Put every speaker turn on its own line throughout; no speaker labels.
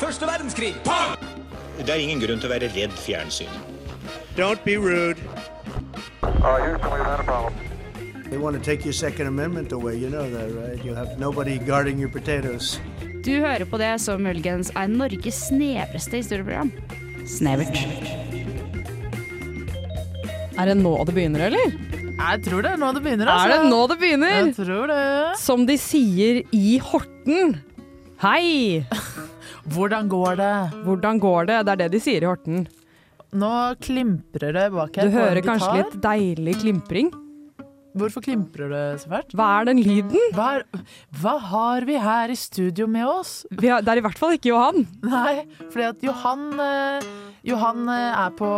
Første verdenskrig.
Det er ingen grunn til å være redd fjernsyn.
Don't be rude.
Uh, Houston, we've had a problem.
They want to take your Second Amendment away. You know that, right? You have nobody guarding your potatoes.
Du hører på det som muligens er Norges snevreste historieprogram. Snevert.
Er det nå det begynner, eller?
Jeg tror det er nå det begynner.
Er det nå det begynner?
Jeg tror det.
Som de sier i Horten. Hei!
Hvordan går det?
Hvordan går det? Det er det de sier i Horten.
Nå klimprer det bak
Du
her. på en
hører kanskje
gitar.
litt deilig klimpring.
Hvorfor klimprer det så fælt?
Hva er den lyden?
Hva, er, hva har vi her i studio med oss?
Vi har, det er i hvert fall ikke Johan.
Nei, fordi at Johan, eh, Johan eh, er på,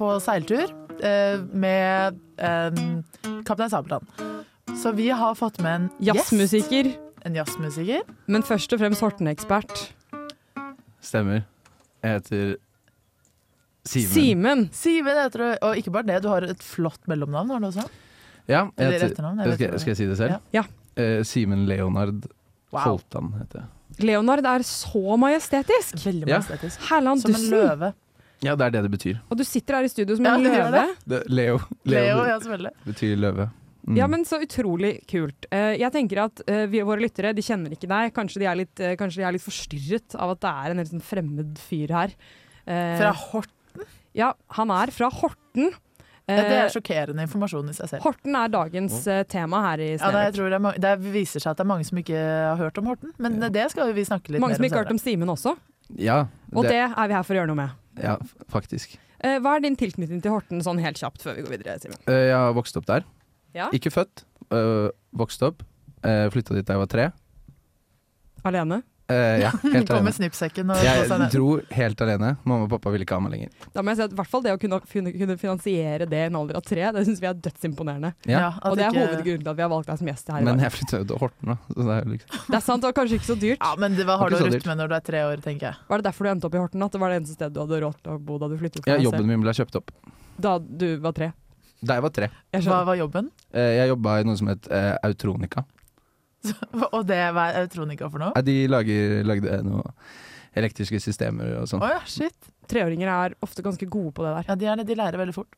på seiltur eh, med eh, Kaptein Sabeltann. Så vi har fått med en gjest.
Jazzmusiker.
En jazzmusiker.
Men først og fremst Horten-ekspert.
Stemmer. Jeg heter Simen.
Simen.
Simen heter du, og ikke bare det, du har et flott mellomnavn. har du også?
Ja, jeg
Eller
heter,
etternavn. jeg vet
skal,
ikke.
skal jeg si det selv?
Ja.
Eh, Simen Leonard
Wow.
Holtan heter jeg.
Leonard er så majestetisk.
Veldig
Ja.
majestetisk.
Herland
Som en
Dussen.
løve.
Ja, det er det det betyr.
Og du sitter her i studio som
Ja,
en
det gjør
løve.
Det, Leo.
Leo, ja, selvfølgelig.
betyr løve. Mm.
Ja, men så utrolig kult. Eh, jeg tenker at eh, vi, våre lyttere de kjenner ikke deg. Kanskje de, er litt, eh, kanskje de er litt forstyrret av at det er en helt sånn fremmed fyr her. Eh,
Fra Hort.
Ja, han er fra Horten. Eh,
Det er sjokkerende informasjon i seg selv.
Horten er dagens eh, tema her i
Ja, nei, jeg
Snevert.
tror det, er mange, det viser seg at det er mange som ikke har hørt om Horten, men det skal vi snakke litt
Mange som
mer
ikke har hørt om Simen også,
Ja,
og det, er vi her for å gjøre noe med.
ja, f- faktisk.
Eh, hva er din tilknytning til Horten sånn helt kjapt før vi går videre, Simen?
Eh, jeg har vokst opp der.
Ja.
Ikke født, øh, vokst opp. Uh, Flytta dit da jeg var tre.
Alene?
Eh, ja, helt
Kom med
alene.
snippsekken og sånn. slå seg
Jeg
ned.
dro helt alene. Mamma og pappa ville ikke ha meg lenger.
Da må jeg si at i hvert fall det å kunne, kunne finansiere det i en alder av tre, det syns vi er dødsimponerende.
Ja.
at
Og det er
ikke-
hovedgrunnen til at vi har valgt deg som gjest her i
Men
dag.
jeg flytta jo til Horten, da. Så det er jo liksom.
Det er sant, det var kanskje ikke så dyrt.
Ja, men det, hva har du å
Ikke så
rutte
dyrt.
med når du er tre år, tenker jeg.
Var det derfor du endte opp i Horten? At det var det eneste stedet du hadde råd til å bo da du flyttet fra
ja,
deg
jobben min ble kjøpt opp
selv? Da du var tre.
da jeg var tre.
Jeg
Hva
skjønner.
var jobben?
Eh, jeg jobba i noe som het eh, Autronica.
Og det hva er Autronica for noe?
Nei, de lager, lagde noe elektriske systemer og
Å
sånn.
ja, shit.
Treåringer er ofte ganske gode på det der.
Ja, de, er, det, de lærer veldig fort.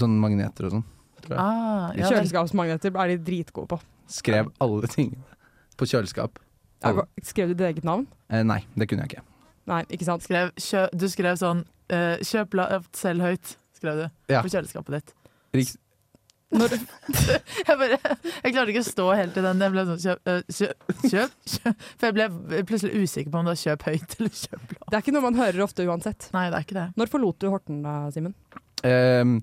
Sånn magneter og sånn. Ja.
Ah, ja, vel.
Kjøleskapsmagneter er de dritgode på.
Skrev alle tingene på kjøleskap.
Er- Skrev du ditt eget navn?
Eh, nei, det kunne jeg ikke.
Nei, ikke sant?
skrev, kjø, du skrev sånn eh, Kjøp lavt, selg høyt, skrev du
Ja.
på kjøleskapet ditt.
Riks-
Når,
Jeg, bare, jeg klarte ikke å stå helt i den. Jeg ble sånn kjøp, eh, kjøp, kjøp, kjøp. For jeg ble plutselig usikker på om det var kjøp høyt eller kjøp lavt.
det er ikke noe man hører ofte uansett.
Nei, det er ikke det.
Når forlot du Horten da, Simen?
Ehm,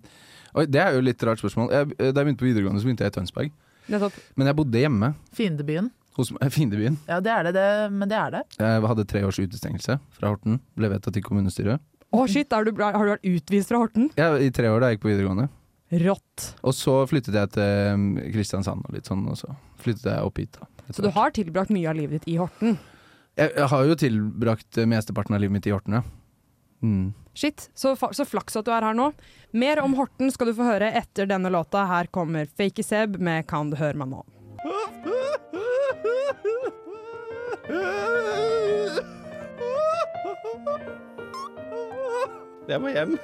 oi, det er jo litt rart spørsmål. Jeg, eh, da jeg begynte på videregående, så begynte jeg i Tønsberg.
Nettopp.
Men jeg bodde hjemme
Fiendebyen.
hos eh, fiendebyen.
Ja, det er det, det, men det er det.
Jeg hadde tre års utestengelse fra Horten. Ble vedtatt til kommunestyret.
Å shit, er du, er, har du vært utvist fra Horten?
Ja, I tre år da jeg gikk på videregående.
Rått.
Og så flyttet jeg til um, Kristiansand og litt sånn, og så flyttet jeg opp hit. da. etter
Så du
hvert.
har tilbrakt mye av livet ditt i Horten.
Jeg, jeg har jo tilbrakt eh, mesteparten av livet mitt i Horten, ja. Mm.
Shit, så, fa- så flaks at du er her nå. Mer om Horten skal du få høre etter denne låta. Her kommer Fake Seb med Kan du høre meg nå?
Jeg må hjem.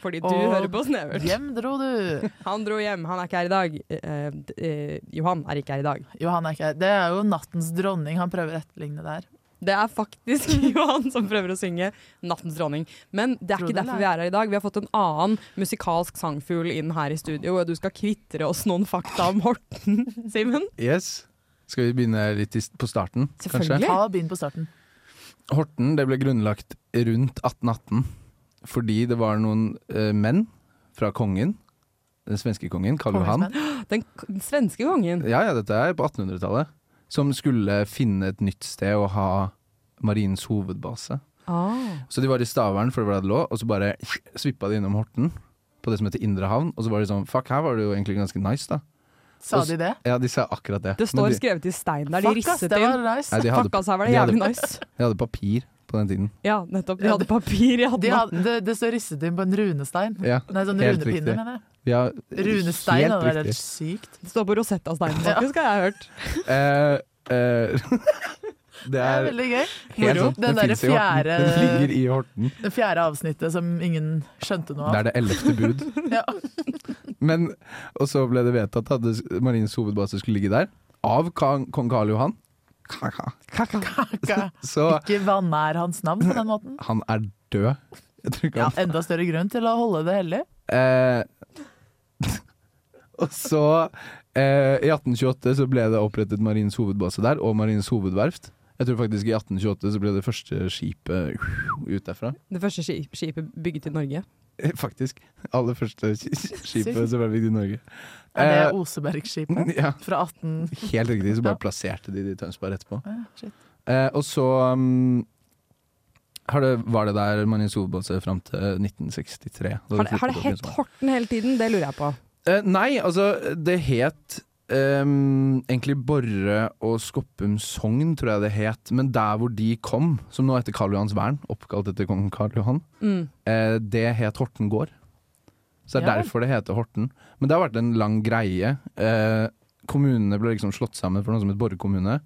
Fordi du
Og
hører på Snevert.
Hjem dro du.
Han dro hjem, han er ikke her i dag. Eh, d- eh, Johan er ikke her i dag.
Johan er ikke her. Det er jo nattens dronning han prøver å etterligne der.
Det er faktisk Johan som prøver å synge 'Nattens dronning'. Men det er
Tror
ikke
du det,
derfor vi er her i dag. Vi har fått en annen musikalsk sangfugl inn her i studio, og du skal kvitre oss noen fakta om Horten, Simen.
Yes. Skal vi begynne litt i, på starten?
Selvfølgelig.
Ta og begynn på starten.
Kanskje? Horten det ble grunnlagt rundt 1818 fordi det var noen eh, menn fra kongen, den svenske kongen, Karl Johan.
Kongens menn.
Den, k- den svenske kongen.
Ja, ja, dette er på 1800-tallet. Som skulle finne et nytt sted å ha marinens hovedbase.
Ah.
Så de var i Stavern, for det var der det lå, og så bare svippa de innom Horten. På det som heter Indre Havn. Og så var de sånn Fuck, her var det jo egentlig ganske nice, da.
Sa de det?
Ja, de sa akkurat det.
Det
Men
står
de,
skrevet i stein der. De
Fuck, ass,
risset
det var
inn.
nice.
Nei, de hadde,
Fuck, altså. ass, her var det
de hadde-
jævlig nice.
de hadde papir på den tiden.
Ja, nettopp. De
Ja,
hadde papir, de hadde,
De hadde, det, det står risset inn på en runestein.
Ja,
Nei, sånn
helt
runepinne,
riktig.
mener jeg.
Ja,
Runestein,
helt
det er helt
riktig.
sykt.
Det står på Rosetta-steinen, faktisk, har jeg hørt.
Eh, eh, Det
Det er
er
veldig gøy.
helt
Moro.
sånn.
Den derre
finnes i Horten.
fjerde,
Den ligger i Horten.
det fjerde avsnittet som ingen skjønte noe
Det
av.
er det ellevte bud.
Ja.
Men, og så ble det vedtatt at det- Marinens hovedbase skulle ligge der. Av kong kong Karl Johan.
Ikke
Så
ikke vannær hans navn på den måten.
han er død. Jeg tror ikke
Ja,
han
enda større grunn til å holde det hellig.
Eh, og så eh, I 1828 så ble det opprettet Marinens hovedbase der, og Marinens hovedverft. Jeg tror faktisk i 1828 så ble det første skipet uh, ut derfra.
Det første skip, skipet bygget i Norge.
Eh, Faktisk. Aller første sk- skipet som ble bygd i Norge.
Er det
Eh,
Osebergskipet
ja,
fra 18...
helt riktig. Så
Ja.
bare plasserte de det i Tønsberg etterpå.
Ah, shit.
Eh, og så um, har det, var det der Marinens hovedbase fram til 1963. da
Har det, har det
flyttet opp i
hett
Tønsberg.
Horten hele tiden? Det lurer jeg på.
Eh, nei, altså det het ehm, egentlig Borre og Skoppum Sogn, tror jeg det het. Men der hvor de kom, som nå heter Karl Johans vern, oppkalt etter kong Karl Johan,
Mm.
eh, det het Horten gård. Så det er
Ja vel.
derfor det heter Horten. Men det har vært en lang greie. Eh, kommunene ble liksom slått sammen for noe som het Borre kommune.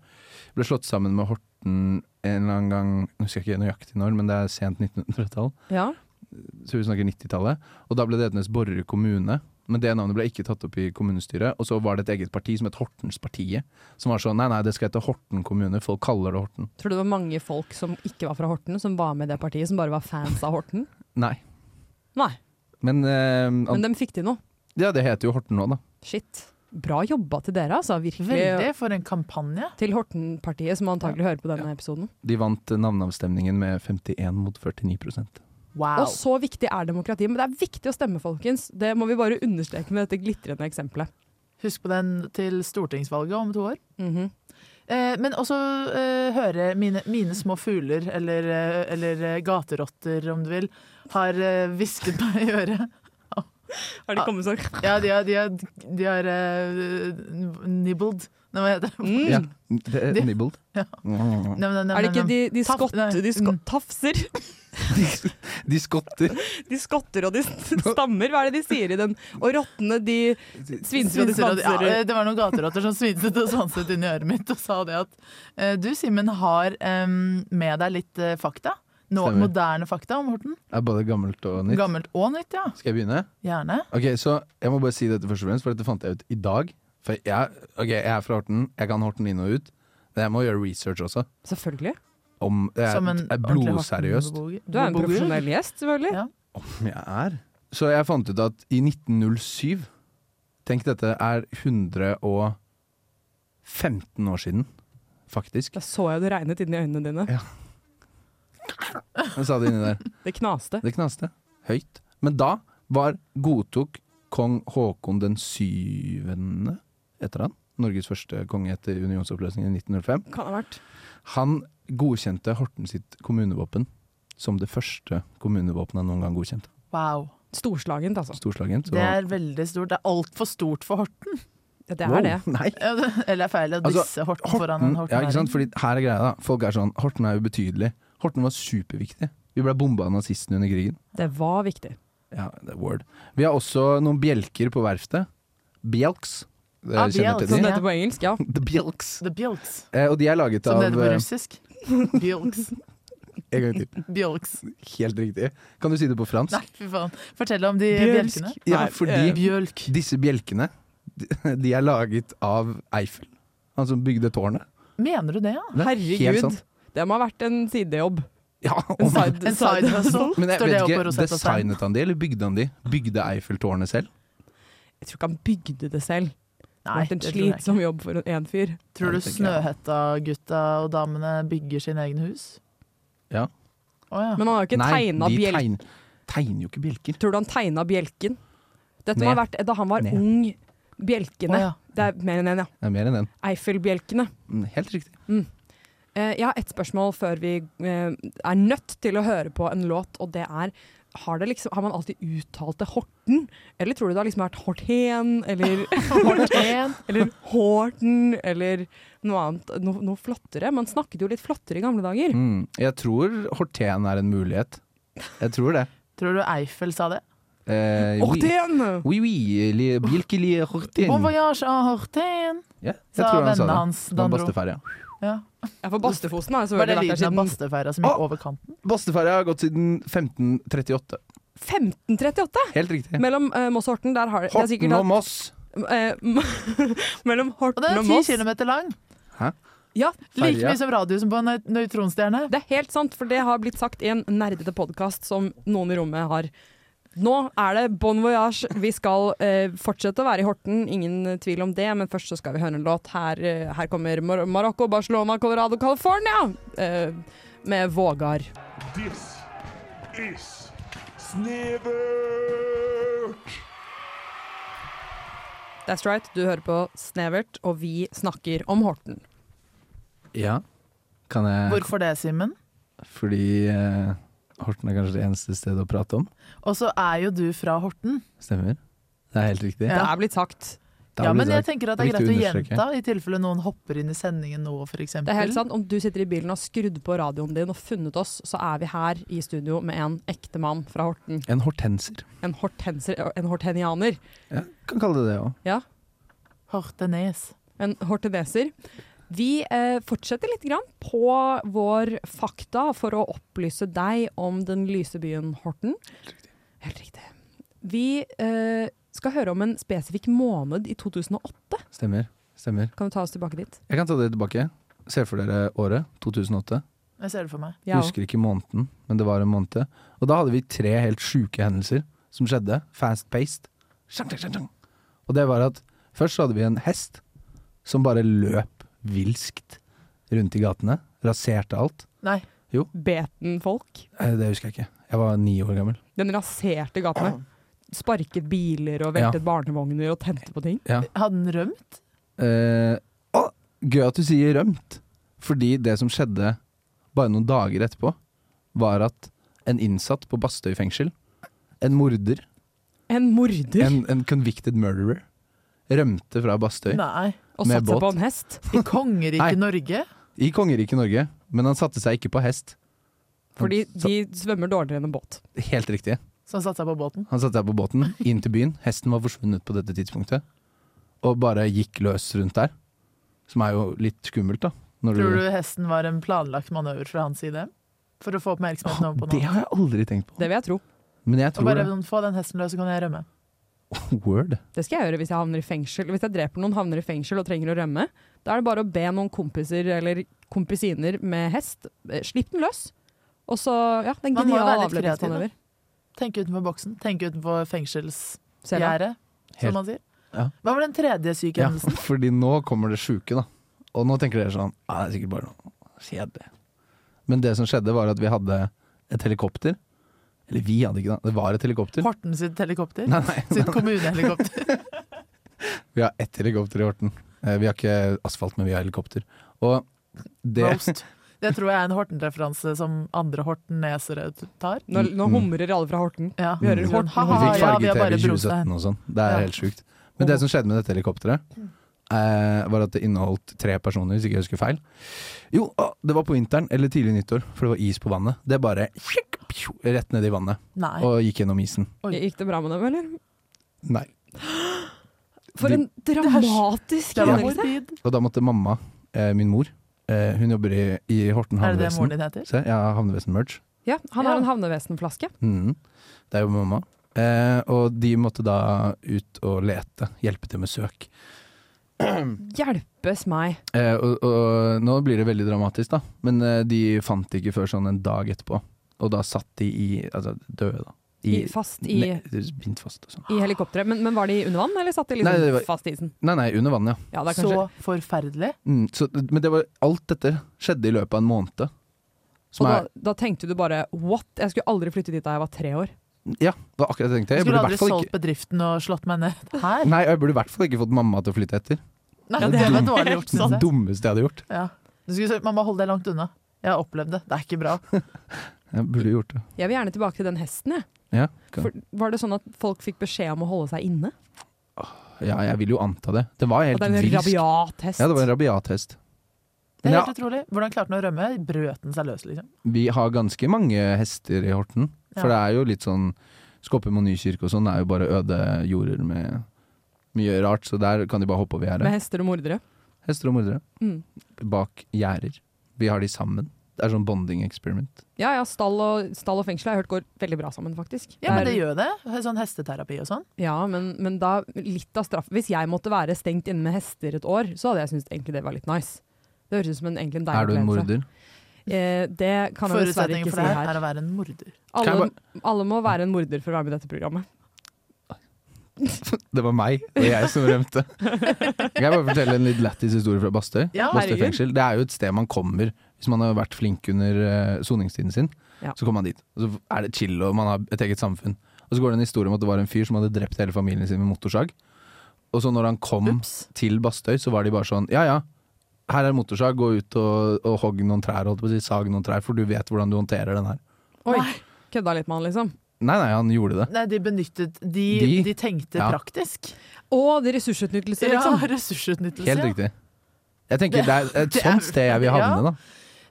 Ble slått sammen med Horten en eller annen gang, nå husker jeg ikke nøyaktig når, men det er sent 1900-tall
Ja.
så vi snakker 90-tallet. Og da ble det Edenes Borre kommune. Men det navnet ble ikke tatt opp i kommunestyret. Og så var det et eget parti som het Hortenspartiet. Som var sånn nei, nei, det skal hete Horten kommune. Folk kaller det Horten.
Tror du det var mange folk som ikke var fra Horten, som var med i det partiet, som bare var fans av Horten?
Nei.
Nei,
Men, eh, an-
men dem fikk til noe.
ja, det heter jo Horten nå, da.
Shit. Bra jobba til dere, altså. Virkelig.
Veldig for en kampanje.
Til Horten-partiet, som antagelig hører på denne episoden.
De vant eh, navneavstemningen med 51 mot 49
Wow.
Og så viktig er demokratiet. Men det er viktig å stemme, folkens. Det må vi bare understreke med dette glitrende eksempelet.
Husk på den til stortingsvalget om to år.
Mhm.
Eh, men også eh, høre mine, mine små fugler, eller, eh, eller eh, gaterotter om du vil, har eh, hvisket meg i øret.
Har de kommet sånn?
Ja, de har, de har, de har eh, nibbled. Nei, hva heter det?
Mm.
Ja. Det er
De-
nibbled.
Ja.
Mm.
Nei, nei, nei,
Er det ikke
nei, nei.
de, de,
Taf-
skott,
nei,
de sko-
mm.
tafser?
De skotter.
De skotter og de st- stammer, hva er det de sier i den? Og rottene, de svinser
Svinser
og de
og-
svanser.
Ja, eh, det var noen gaterotter som svinset og svanset inn i øret mitt og sa det at eh, du, Simen, har eh, med deg litt eh, fakta. Nå,
Stemmer.
moderne fakta om Horten.
Det er både gammelt og nytt.
Gammelt og nytt, ja.
Skal jeg begynne?
Gjerne.
Ok, så Jeg må bare si dette først og fremst, for dette fant jeg ut i dag. For jeg, ok, jeg er fra Horten, jeg kan Horten inn og ut. Men jeg må gjøre research også.
Selvfølgelig.
Om det er,
Som en
er blodseriøst.
Du er en profesjonell gjest, selvfølgelig.
Ja.
Om jeg er. Så jeg fant ut at i 1907 Tenk, dette er 115 år siden, faktisk.
Da så jeg det regnet inn i øynene dine.
Jeg sa det inni der.
Det knaste.
Det knaste. Høyt. Men da var godtok kong Haakon den syvende etter han. Norges første konge etter unionsoppløsningen i 1905.
Kan ha vært.
Han godkjente Horten sitt kommunevåpen som det første kommunevåpenet han noen gang godkjente.
Wow.
Storslagent, altså.
Storslagent. så-
Det er veldig stort. Det er altfor stort for Horten.
Ja, det er
Wow,
det.
Nei.
Ja, det- Eller er feil å
Altså,
disse Horten, foran en
Horten, ja, ikke sant?
hortenæring.
Fordi her er greia, da. Folk er sånn Horten er ubetydelig. Horten var superviktig. Vi ble bomba av nazistene under krigen.
Det var viktig.
Ja, det er word. Vi har også noen bjelker på verftet. Bjelks. Det
Ah, bjelks.
kjenner til
Som
de.
det heter på engelsk, ja.
The Bjelks.
The Bjolks,
Eh, og de er laget
som
av
det heter på
eh,
russisk. Bjolks.
En gang til.
Bjolks.
Helt riktig. Kan du si det på fransk?
Nei, fy faen. Fortell om de
Bjølsk.
bjelkene.
Ja,
Nei,
fordi
eh,
Bjølk.
Disse bjelkene de- de er laget av Eiffel, han som bygde tårnet.
Mener du det, ja?
Det er helt
Herregud.
sant.
Det må ha vært en sidejobb.
Ja,
En
om-
side,
En side hustle.
men jeg
Står det
vet
oppe på
ikke,
Rosetta Stein?
Designet han de, eller bygde han de? Bygde Eiffeltårnet selv?
Jeg tror ikke han bygde det selv. Det har
Nei,
vært en
det tror jeg ikke.
slitsom jobb for en fyr.
Tror du
Ja, det tenker jeg.
Snøhetta-gutta og damene bygger sine egne hus?
Ja.
Å ja.
Men han har jo ikke tegna
Ah. de
bjelken.
tegn, tegner jo ikke bjelker.
Tror du han tegna bjelken? Dette må
Ned.
ha vært da han var
Ned.
ung. Bjelkene.
Å, ja.
Det er mer enn en, ja.
Det er mer enn den.
Eiffelbjelkene.
Mm, Helt riktig.
Eh, jeg har ett spørsmål før vi eh, er nødt til å høre på en låt, og det er har, det liksom, har man alltid uttalt det Horten? Eller tror du det har liksom vært Horten, eller
Horten.
Eller Horten, eller noe annet. No, noe flottere. Man snakket jo litt flottere i gamle dager.
Mm. Jeg tror Horten er en mulighet. Jeg tror det.
Tror du Eiffel sa det?
Eh, oui,
Orten!
oui, oui, li- Bilkelie Hortin.
Bon voyage à Horten,
Ja, jeg
sa
tror han sa
vennene
det.
hans.
Det
Da han
var
dro.
Bastefar, ja.
Ja.
Ja, for Bastefosen har jo
Var det
selvfølgelig vært der
lyden av
siden
bastefeira som gikk
Å!
over kanten?
Basteferja har gått siden 1538.
1538!
Helt riktig.
Mellom eh, Moss og Horten. Der har det, det er
Horten
sikkert
og Moss.
at, eh, Mellom
Og den
Horten
er
og
ti
Moss.
kilometer lang.
Ja,
Like
Ferja.
mye som radiusen på en nøy- nøytronstjerne.
det er helt sant, for det har blitt sagt i en nerdete podkast som noen i rommet har. Nå er det bon voyage. Vi skal eh, fortsette å være i Horten, ingen eh, tvil om det. Men først så skal vi høre en låt. Her, eh, her kommer Mar Marokko, Barcelona, Colorado, California eh, med Vågar.
This is Snevert!
That's right, du hører på Snevert, og vi snakker om Horten.
Ja. Kan jeg
Hvorfor det, Simen?
Fordi eh, Horten er kanskje det eneste stedet å prate om.
Og så er jo du fra Horten.
Stemmer? Det er helt riktig.
Ja.
Det er blitt sagt.
Da
ja,
blir
men
det
jeg
sagt.
tenker at det er
Viktig
greit å
å understreke.
gjenta, i tilfelle noen hopper inn i sendingen nå, f.eks.
Det er helt sant. Om du sitter i bilen og har skrudd på radioen din og funnet oss, så er vi her i studio med en ekte mann fra Horten.
En hortenser.
En, hortenser, en hortenianer.
Ja, kan kalle det det òg.
Ja,
Hortenes.
en horteneser. Vi eh, fortsetter litt grann på vår fakta for å opplyse deg om den lyse byen Horten. Helt riktig. Vi eh, skal høre om en spesifikk måned i 2008.
Stemmer. Stemmer.
Kan du ta oss tilbake dit?
Jeg kan ta det tilbake. Se for dere året 2008.
Jeg ser det for meg.
Ja.
Husker ikke måneden, men det var en måned. Og da hadde vi tre helt sjuke hendelser som skjedde. Fast-paced. Sjang, sjang, sjang, sjang. Og det var at først så hadde vi en hest som bare løp vilskt rundt i gatene. Raserte alt.
Nei.
Beten folk.
Eh, Det husker jeg ikke. Jeg var ni år gammel.
Den raserte gatene. Sparket biler og veltet barnevogner og tente på ting.
Hadde den rømt?
Eh, å, gøy at du sier rømt. Fordi det som skjedde bare noen dager etterpå, var at en innsatt på Bastøy fengsel, en morder,
En morder!
en, en convicted murderer, rømte fra Bastøy
Nei.
og
med
satt seg
båt.
på en hest.
I kongeriket
Nei.
Norge?
i kongeriket Norge, men han satte seg ikke på hest. Han
Fordi
sa-
de svømmer dårligere enn en båt.
Helt riktig.
Som satte seg på båten?
Han satte seg på båten inn til byen. Hesten var forsvunnet på dette tidspunktet, og bare gikk løs rundt der. Som er jo litt skummelt, da. Når
Tror du hesten var en planlagt manøver fra hans side? For å få oppmerksomheten over på
Det
noe?
har jeg aldri tenkt på.
Det vil jeg tro.
Men jeg
Og
tror
bare sånn-
det.
få den hesten løs, så kan jeg rømme.
Word.
Det skal jeg gjøre hvis jeg havner i fengsel. Hvis jeg dreper noen, havner i fengsel og trenger å rømme, da er det bare å be noen kompiser eller kompisiner med hest eh, Slipp den løs! Og så Ja, det er en
Man må jo være
genial
litt kreativ, da.
avledningsmanøver.
Tenke utenfor boksen. Tenke utenfor fengselsgjerdet,
Selv om-
Helt-
som man sier.
Ja.
Hva var den tredje syke
Ja,
hendelsen?
fordi nå kommer det sjuke, da. Og nå tenker dere sånn ah, Det er sikkert bare noe kjedelig. Men det som skjedde, var at vi hadde et helikopter. Eller vi hadde ikke det. Det var et helikopter.
Horten sitt helikopter?
Nei, nei,
Sitt kommunehelikopter?
Vi har ett helikopter i Horten. Eh, Vi har ikke asfalt, men vi har helikopter. Og det
Roast. Det tror jeg er en Horten-referanse som andre hortenesere tar.
Nå, nå
Mm.
humrer alle fra Horten.
Ja.
Vi hører
Sånn,
Horten,
«Haha,
Vi fikk
ja, vi har
farge-TV
bare
i
brotet her».
2017 og sånn. Det er
Ja. Mm.
helt sjukt. Men det som skjedde med dette helikopteret, eh, var at det inneholdt tre personer, hvis ikke jeg husker feil. Jo, å, det var på vinteren eller tidlig nyttår, for det var is på vannet. Det bare rett ned i vannet
Nei.
og gikk gjennom isen.
Oi.
Gikk det bra med dem, eller?
Nei.
For
Det-
en dramatisk
Det var
hendelse!
morbid.
Og da måtte mamma, eh, min mor, eh, hun jobber i, i Horten
Er det det moren
havnevesen.
din heter?
Se, jeg har havnevesen-merch.
Ja, han
Ja.
har en havnevesenflaske.
Mm. Det er jo mamma. Eh, og de måtte da ut og lete, hjelpe til med søk.
Hjelpes meg.
Eh, og, og nå blir det veldig dramatisk, da. Men eh, de fant det ikke før sånn en dag etterpå. Og da satt de i Altså døde, da.
I, fast i,
ne- Bindt fast og sånn.
i helikopteret. Men, men var de under vann, eller satt de liksom
Nei, det var-
fast i isen?
Nei, nei, under vann, ja.
Ja, det er kanskje
Så forferdelig.
Mm, så, men det var, alt dette skjedde i løpet av en måned. Som
Og da,
er,
da tenkte du bare what? Jeg skulle aldri flytte dit da jeg var tre år.
ja, det var akkurat det jeg tenkte.
Jeg
Jeg
skulle
burde i
aldri
hvert fall
solgt
ikke
bedriften og slått meg ned her.
Nei, jeg burde i hvert fall ikke fått mamma til å flytte etter.
Nei,
Ja,
det
det er
var
dumt.
dårlig gjort,
Det
synes jeg.
dummeste jeg hadde gjort.
Ja. Du skulle sagt, mamma, hold deg langt unna. Jeg har opplevd det. Det er ikke bra.
Jeg burde gjort det.
Jeg vil gjerne tilbake til den hesten. Jeg.
Ja, kan-
For, var det sånn at folk fikk beskjed om å holde seg inne?
ja, jeg vil jo anta det. Det var
At
helt
det er en
vilsk. Ja,
rabiat hest?
det var en rabiat hest.
Det er
Ja,
helt utrolig. Hvordan klarte den å rømme? Brøt den seg løs, liksom?
vi har ganske mange hester i Horten. For
Ja.
det er jo litt sånn Skoppum og Nykirke og sånn er jo bare øde jorder med mye rart, så der kan de bare hoppe over
Med
gjerdet.
hester og mordere.
Hester og mordere
Mm.
bak gjerder. Vi har de sammen. Det er sånn bonding experiment.
Ja, ja, stall og, stall og fengsel har jeg hørt går veldig bra sammen, faktisk.
Ja, men
Der-
det gjør det. Sånn hesteterapi og sånn.
ja, men, men da litt av straff Hvis jeg måtte være stengt inne med hester et år, så hadde jeg syntes egentlig det var litt nice. Det høres ut som en, egentlig en deilig
Er du en
opplevelse.
morder?
Eh, det kan jeg dessverre
Forutsetningen
ikke
for
si
det her
her.
er å være en morder.
Kan jeg
Alle, alle må være en morder for å være med i dette programmet.
Det var meg, og jeg som rømte. Kan jeg bare fortelle en litt lættis historie fra Bastøy?
Ja,
Bastøy
herregud.
fengsel. Det er jo et sted man kommer hvis man har vært flink under eh, soningstiden sin.
Ja.
Så kommer man dit, og så er det chill, og man har et eget samfunn. Og så går det en historie om at det var en fyr som hadde drept hele familien sin med motorsag. Og så når han kom
Ups.
til Bastøy, så var de bare sånn Ja ja, her er motorsag, gå ut og, og hogg noen trær, holdt på å si, sag noen trær, for du vet hvordan du håndterer den her.
Oi, kødda litt med han, liksom.
Nei nei, han gjorde det.
Nei, de benyttet De, de,
De-
tenkte
ja.
praktisk.
Og det ressursutnyttelse,
Ja,
liksom.
ressursutnyttelse.
Helt
ja.
riktig. Jeg tenker det er et
det er-
sånt sted jeg vil havne,
ja.
da.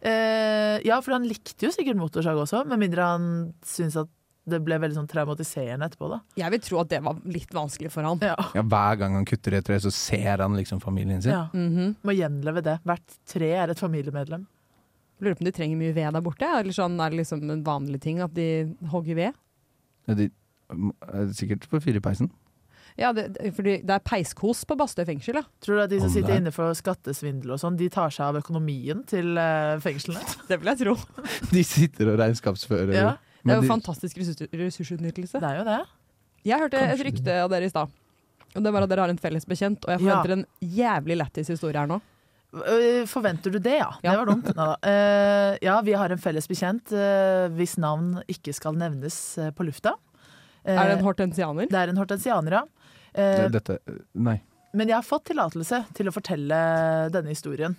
Eh, ja, for han likte jo sikkert motorsag også, med mindre han syntes at det ble veldig sånn traumatiserende etterpå, da.
Jeg vil tro at det var litt vanskelig for han.
Ja.
Ja, Hver gang han kutter i et tre, så ser han liksom familien sin.
Ja.
Mhm.
Må gjenleve det. Hvert tre er et familiemedlem.
Lurer på om de trenger mye ved der borte? Eller sånn, er det liksom en vanlig ting at de hogger ved?
Ja, De, um, er sikkert på firepeisen.
Ja, det, det- fordi det er peiskos på Bastøy fengsel, ja.
Tror du at de som
Om
sitter
det.
inne for skattesvindel og sånn, de tar seg av økonomien til eh, fengslene?
Det vil jeg tro.
De sitter og regnskapsfører.
Ja,
Det er
Men
jo
de,
fantastisk ressurs- ressursutnyttelse.
det er jo det.
Jeg hørte et
Kanskje.
rykte av dere i stad. Og det var at dere har en felles bekjent, og jeg
Ja.
forventer en jævlig lættis historie her nå.
Øh, Forventer du det, ja? Det var dumt. Neida. Eh, ja, vi har en felles bekjent eh, hvis navn ikke skal nevnes eh, på lufta. Eh,
Er det en hortensianer?
det er en hortensianer, ja. Eh,
det- dette, nei.
Men jeg har fått tillatelse til å fortelle denne historien.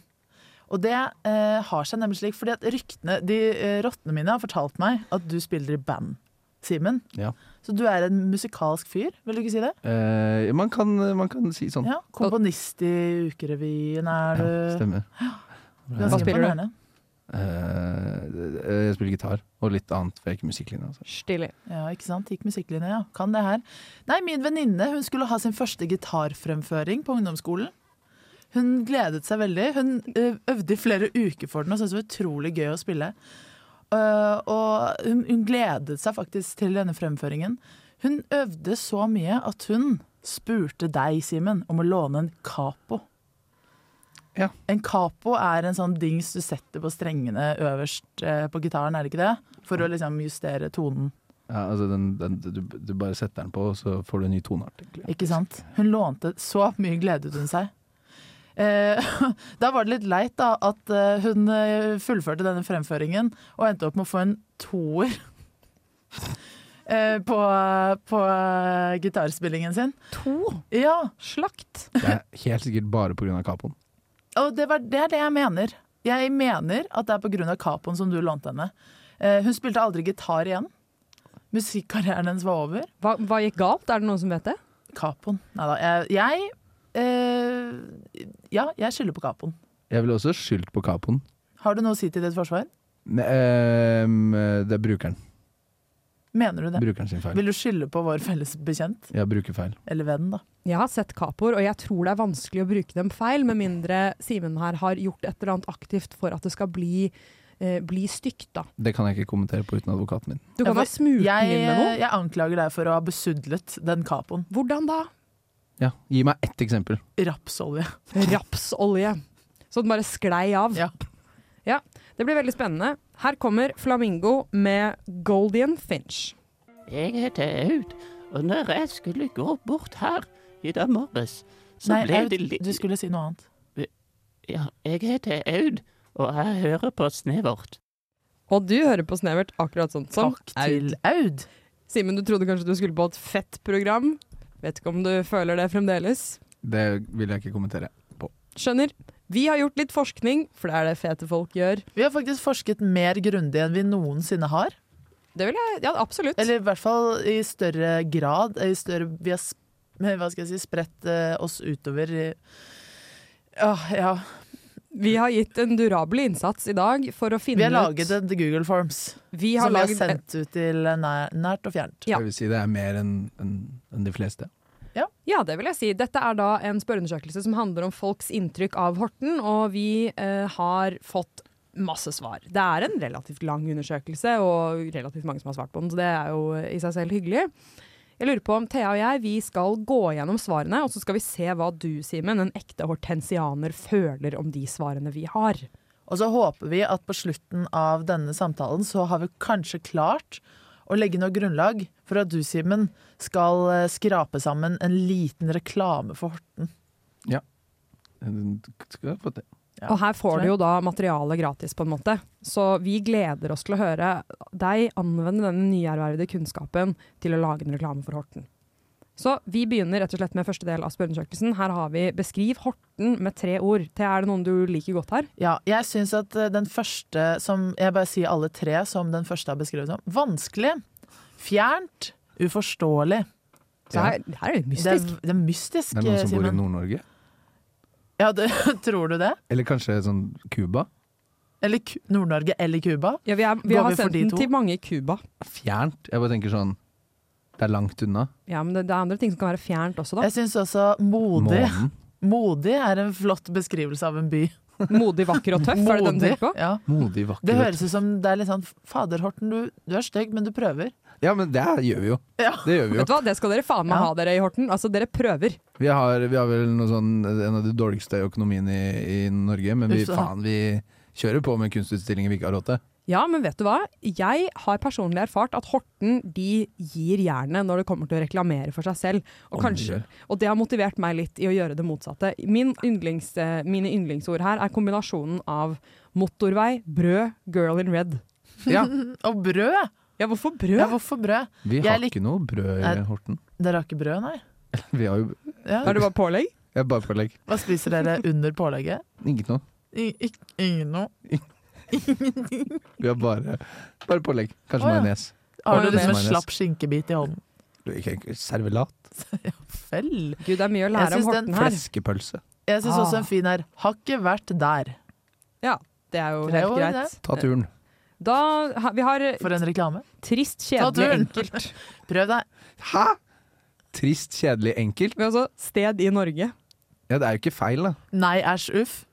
Og det eh, har seg nemlig slik, fordi at ryktene, de eh, rottene mine har fortalt meg at du spiller i band, Simen.
Ja.
Så du er en musikalsk fyr, vil du ikke si det?
Eh, man, kan, man kan si sånn.
Ja, Komponist i Ukerevyen er du.
Ja, stemmer.
ganske
Hva spiller du?
imponerende.
Eh, eh, jeg spiller gitar og litt annet, for jeg er ikke musikklinje. Altså.
Stilig.
Ja, ikke sant? Gikk musikklinje, ja. Kan det her. Nei, min venninne hun skulle ha sin første gitarfremføring på ungdomsskolen. Hun gledet seg veldig. Hun ø, øvde i flere uker for den og syntes det var utrolig gøy å spille. Eh, og hun, hun gledet seg faktisk til denne fremføringen. Hun øvde så mye at hun spurte deg, Simen, om å låne en capo.
Ja.
En capo er en sånn dings du setter på strengene øverst eh, på gitaren, er det ikke det? For å liksom justere tonen.
Ja, altså den, den, du, du bare setter den på, og så får du en ny toneart. egentlig.
Ikke sant? Hun lånte så mye gledet hun seg. Eh, da var det litt leit da at eh, hun eh, fullførte denne fremføringen og endte opp med å få en toer eh, på, på eh, gitarspillingen sin.
To
Ja,
slakt.
Det er helt sikkert bare pga. Capoen.
og det, var, det er det jeg mener. Jeg mener at det er pga. capoen som du lånte henne. Eh, hun spilte aldri gitar igjen. Musikkarrieren hennes var over.
Hva, hva gikk galt? Er det noen som vet det?
Capoen. Nei da. Jeg, jeg eh, Ja, jeg skylder på capoen.
Jeg ville også skyldt på Capoen.
Har du noe å si til ditt forsvar?
Ne- eh, det er brukeren.
Mener du det?
Brukeren sin feil.
Vil du skylde på vår felles bekjent?
Ja, brukerfeil.
Eller venn, da.
Jeg har sett capoer, og jeg tror det er vanskelig å bruke dem feil, med mindre Simen her har gjort et eller annet aktivt for at det skal bli, eh, bli stygt, da.
Det kan jeg ikke kommentere på uten advokaten min.
Du
Ja,
kan ha
for
smurt den
Jeg,
inn med noe.
jeg anklager deg for å ha besudlet den capoen.
Hvordan da?
Ja, Gi meg ett eksempel.
Rapsolje.
Rapsolje. Så den bare sklei av.
Ja.
Ja, Det blir veldig spennende. Her kommer Flamingo med Goldian Finch.
Jeg heter Aud, og når jeg skulle gå bort her i dag morges, så
Nei,
ble
Aud,
det litt
du skulle si noe annet.
Ja, jeg heter Aud, og jeg hører på Snevert.
Og du hører på Snevert akkurat sånn som
Takk til Aud.
Simen, du trodde kanskje du skulle på et fett program. Vet ikke om du føler det fremdeles.
Det vil jeg ikke kommentere.
Skjønner. Vi har gjort litt forskning, for det er det fete folk gjør.
Vi har faktisk forsket mer grundig enn vi noensinne har.
Det vil jeg, ja, absolutt.
Eller i hvert fall i større grad. I større, vi har sp- hva skal jeg si, spredt eh, oss utover i Ja, ja.
Vi har gitt en durabel innsats i dag for å
Vi
finne
har laget et Google Forms
ut Vi har
som vi har
laget et-
sendt ut til nær, nært og fjernt.
Ja.
Jeg vil si det er mer enn enn- enn de fleste.
Ja, det vil jeg si. Dette er da en spørreundersøkelse som handler om folks inntrykk av Horten, og vi eh, har fått masse svar. Det er en relativt lang undersøkelse, og relativt mange som har svart på den, så det er jo eh, i seg selv hyggelig. Jeg lurer på om Thea og jeg vi skal gå gjennom svarene, og så skal vi se hva du, Simen, en ekte hortensianer, føler om de svarene vi har.
Og så håper vi at på slutten av denne samtalen så har vi kanskje klart å legge noe grunnlag for at du, Simen, skal eh, skrape sammen en liten reklame for Horten.
Skal jeg få til.
Ja,
og her får
tror
du
jeg.
jo da materialet gratis, på en måte. Så vi gleder oss til å høre deg anvende denne nyervervede kunnskapen til å lage en reklame for Horten. Så vi begynner rett og slett med første del av spørreundersøkelsen. Her har vi 'beskriv Horten' med tre ord. Thea, er det noen du liker godt her?
Ja, jeg syns at eh, den første som Jeg bare sier alle tre som den første har beskrevet som. Vanskelig, fjernt, uforståelig.
Så her, her er det litt
Det er,
mystisk.
det er mystisk,
Det er noen som bor i
Simen.
Nord-Norge?
Ja, det, tror du det?
Eller kanskje sånn Cuba?
Eller Ku- Nord-Norge eller Cuba?
Ja, vi er, vi
Går
har
vi for
sendt
de
den
to?
til mange i Cuba.
Fjernt? Jeg bare tenker sånn Det er langt unna.
Ja, men det, det er andre ting som kan være fjernt også, da.
Jeg syns også modig.
Månen.
Modig er en flott beskrivelse av en by.
Modig, vakker og tøff, er det den du
Modig,
tenker på?
Ja.
Modig, vakker
Det
og
høres ut som det er litt sånn Fader, Horten, du, du er stygg, men du prøver.
Ja, men det gjør vi jo.
Ja.
Det gjør vi jo.
Vet du hva, det skal dere faen meg
Ja.
ha dere i Horten. Altså, dere prøver.
Vi har, vi har vel noe sånn, en av de dårligste økonomiene i, i Norge, men vi,
Uff, da.
faen, vi kjører på med kunstutstillinger vi ikke har råd til.
Ja, men vet du hva? Jeg har personlig erfart at Horten de gir jernet når det kommer til å reklamere for seg selv. Og,
Om de
kanskje,
gjør.
og det har motivert meg litt i å gjøre det motsatte. Min yndlings, eh, mine yndlingsord her er kombinasjonen av motorvei, brød, girl in red.
Ja,
Og brød!
Ja, hvorfor
Ja,
brød?
hvorfor brød?
Vi
Jeg
har
lik-
ikke noe brød i
Nei.
Horten.
Dere har ikke brød, nei?
Vi har jo
Ja.
Er det bare pålegg?
jeg er bare pålegg.
Hva spiser dere under pålegget?
Ikke noe.
I, ikk- ingen noe.
Vi har bare, bare pålegg. Kanskje
Å, ja.
majones.
Har du liksom
Mayonnaise.
en
Mayonnaise.
slapp skinkebit i hånden?
Servelat.
Vel.
Gud, det er mye å
Jeg
lære om
synes den
Horten her.
Fleskepølse.
Jeg syns
Ah.
også en fin er Har ikke vært der.
Det er jo
Det er
helt
jo
greit.
Ta turen.
Da, ha- vi har eh,
For en reklame.
trist,
Ta
kjedelig,
turen!
enkelt.
Prøv deg.
Hæ?! Trist, kjedelig, enkelt.
Vi har altså sted i Norge.
Ja, det er jo ikke feil, da.
Nei, æsj, uff.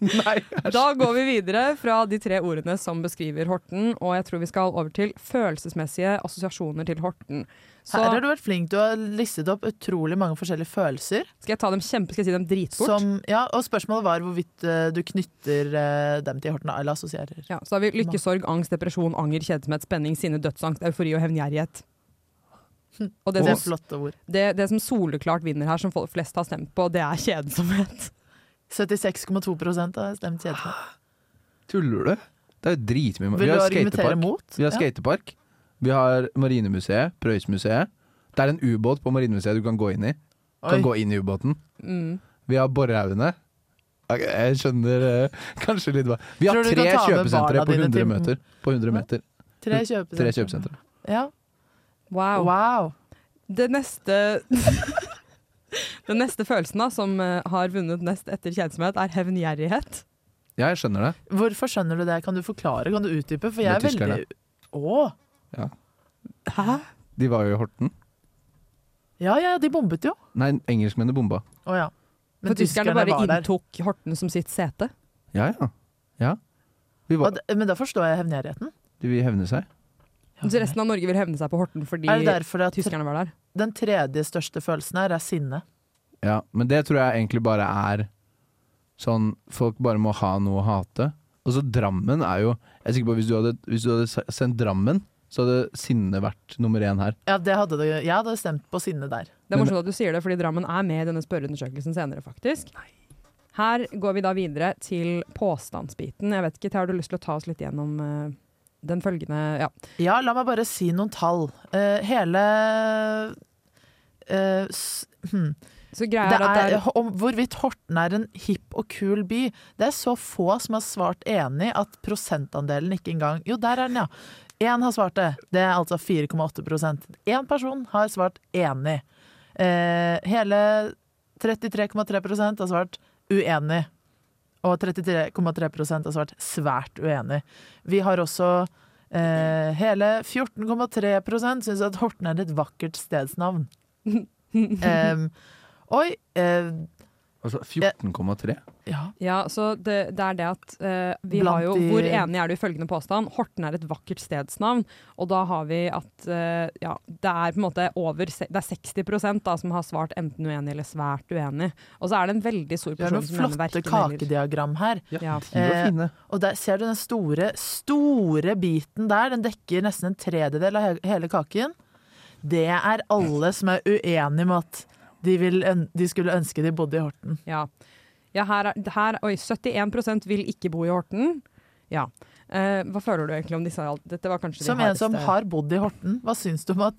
Nei.
Da går vi videre fra de tre ordene som beskriver Horten, og jeg tror vi skal over til følelsesmessige assosiasjoner til Horten. Så
Her har du vært flink. Du har listet opp utrolig mange forskjellige følelser.
skal jeg ta dem kjempe, skal jeg si dem dritfort?
Som, ja, og spørsmålet var hvorvidt eh, du knytter eh, dem til Horten, eller assosierer.
Ja, så har vi lykke, sorg, angst, depresjon, anger, kjedsomhet, spenning, sinne, dødsangst, eufori og hevngjerrighet. Og
Hm. Det
det
er
som,
flotte ord.
det, det som soleklart vinner her, som folk flest har stemt på, det er kjedsomhet.
76,2 har stemt kjedelig.
Tuller du? Det er jo dritmye
Vil
Ah, Vi
du
har
argumentere
skatepark.
mot?
Vi har skatepark. Vi har Marinemuseet, Prøysmuseet. Det er en ubåt på Marinemuseet du kan gå inn i. Du
Oi.
kan gå inn i ubåten.
Mm.
Vi har Borrehaugene. Ok, Jeg skjønner eh, kanskje litt hva Vi har
Tror du du
tre
kan ta med
kjøpesentre
barna
på
dine
100
til-
meter. På 100 meter.
Tre kjøpesentre.
Tre kjøpesentre.
Ja.
Wow.
Wow.
Det neste Den neste følelsen da, som eh, har vunnet nest etter kjedsomhet, er hevngjerrighet.
Ja, jeg skjønner det.
Hvorfor skjønner du det? Kan du forklare? Kan du utdype? For jeg er
Det er
veldig Å!
Hæ?
De var jo i Horten.
Ja, ja, de bombet jo.
Nei, engelskmennene bomba.
Å ja.
For tyskerne bare inntok Horten som sitt sete.
Ja, ja. ja. Vi,
Og
var,
d- Men da forstår jeg hevngjerrigheten.
de vil hevne seg.
Så resten av Norge vil hevne seg på Horten fordi
Er det derfor at
tyskerne var der.
den tredje største følelsen her er sinne?
Ja, men det tror jeg egentlig bare er sånn Folk bare må ha noe å hate. Og så Drammen er jo Jeg er sikker på Hvis du hadde, hvis du hadde s- sendt Drammen, så hadde sinne vært nummer én her.
Ja, det hadde det. Jeg hadde stemt på sinne der.
Det er
Men-
morsomt at du sier det, fordi Drammen er med i denne spørreundersøkelsen senere, faktisk. Her går vi da videre til påstandsbiten. Jeg vet ikke, Thea, har du lyst til å ta oss litt gjennom eh, den følgende Ja.
Ja, la meg bare si noen tall. Eh, hele eh, s- hm.
Så greia
det
er, at det
er,
er
om hvorvidt Horten er en hipp og kul by. Det er så få som har svart enig at prosentandelen ikke engang Jo, der er den, ja. Én har svart det. Det er altså 4,8 Én person har svart enig. Eh, hele 33,3 har svart uenig. og 33,3 har svart svært uenig. Vi har også eh, hele 14,3 syns at Horten er et vakkert stedsnavn. Em, oi eh,
Altså 14,3?
ja.
Ja, så det, det er det at eh, vi
Blant
har jo,
de-
Hvor enig er du i følgende påstand? Horten er et vakkert stedsnavn. Og da har vi at eh, ja, det er på en måte over se- Det er 60 da, som har svart enten uenig eller svært uenig. Og så er det en veldig stor
Vi har
person
noen
som mener
flotte
verken eller.
kakediagram her.
Ja.
De var
Eh,
fine.
Og der ser du den store, store biten der. Den dekker nesten en tredjedel av he- hele kaken. Det er alle som er uenige med at de, vil, øn- de skulle ønske de bodde i Horten.
Ja. ja her er, her, oi, 71 vil ikke bo i Horten. Ja. Eh, hva føler du egentlig om disse? Dette var kanskje
Som
de
en som
hardeste.
har bodd i Horten, hva syns du om at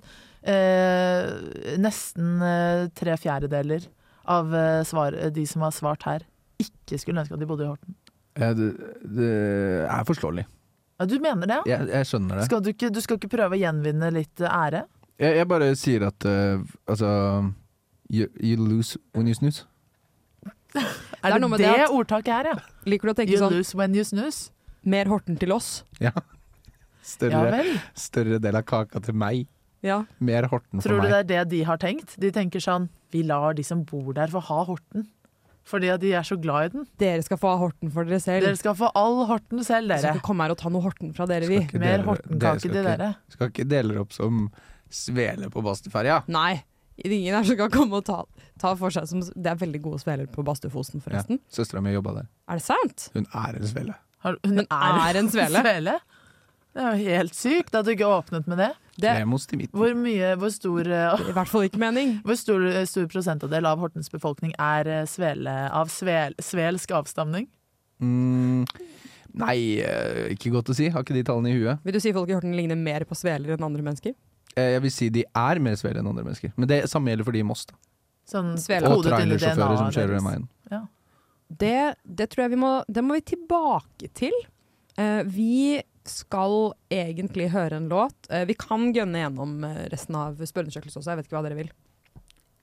eh, nesten eh, tre fjerdedeler av eh, svar, de som har svart her, ikke skulle ønske at de bodde i Horten?
Eh, Det, det er forståelig.
Ja, du mener det? ja?
Jeg, jeg skjønner det.
Skal du, ikke, du skal ikke prøve å gjenvinne litt eh, ære?
Jeg, jeg bare sier at eh, altså you, you lose when you snooze.
Er det
noe med
det,
det at-
ordtaket her, ja?
Liker du å tenke
You
sånn
lose when you snooze.
Mer Horten til oss?
Ja.
Ja
Større,
vel.
større del av kaka til meg.
Ja.
Mer Horten for
Tror du
meg.
det er det de har tenkt? De tenker sånn Vi lar de som bor der få ha Horten. Fordi at de er så glad i den.
Dere skal få ha Horten for dere selv.
Dere skal få all Horten selv,
Dere
dere.
skal ikke komme her og ta noe Horten fra dere, vi.
Skal ikke
Mer
dere- dere
Hortenkake
skal
til
ikke-
dere.
Skal ikke dele dere opp som svele på Bastøferja.
Nei. Ingen her som kan komme og ta, ta for seg som Det er veldig gode sveler på Badstuefosen,
Ja,
forresten.
Søstera mi jobba der.
Er det sant?
Hun er en svele.
Har, hun
Hun er en svele.
Det er jo helt sykt at du ikke åpnet med det.
Det
Lemos til midten.
Hvor mye, hvor stor eh,
i hvert fall ikke mening.
hvor stor, eh, stor prosentandel av Hortens befolkning er eh, svele, av svel, svelsk avstamning?
Mm, nei, eh, ikke godt å si. Har ikke de tallene i huet.
Vil du si folk i Horten ligner mer på sveler enn andre mennesker?
Eh, Jeg vil si de er mer svele enn andre mennesker. Men det samme gjelder for de i Moss. da.
Sånn
Svele.
Og
kodet inn i
trailersjåfører som
DNA-et
kjører
deres.
den veien.
Det, det tror jeg vi må Det må vi tilbake til. Eh, vi skal egentlig høre en låt. Eh, vi kan gønne gjennom eh, resten av spørreundersøkelsen også. Jeg vet ikke hva dere vil.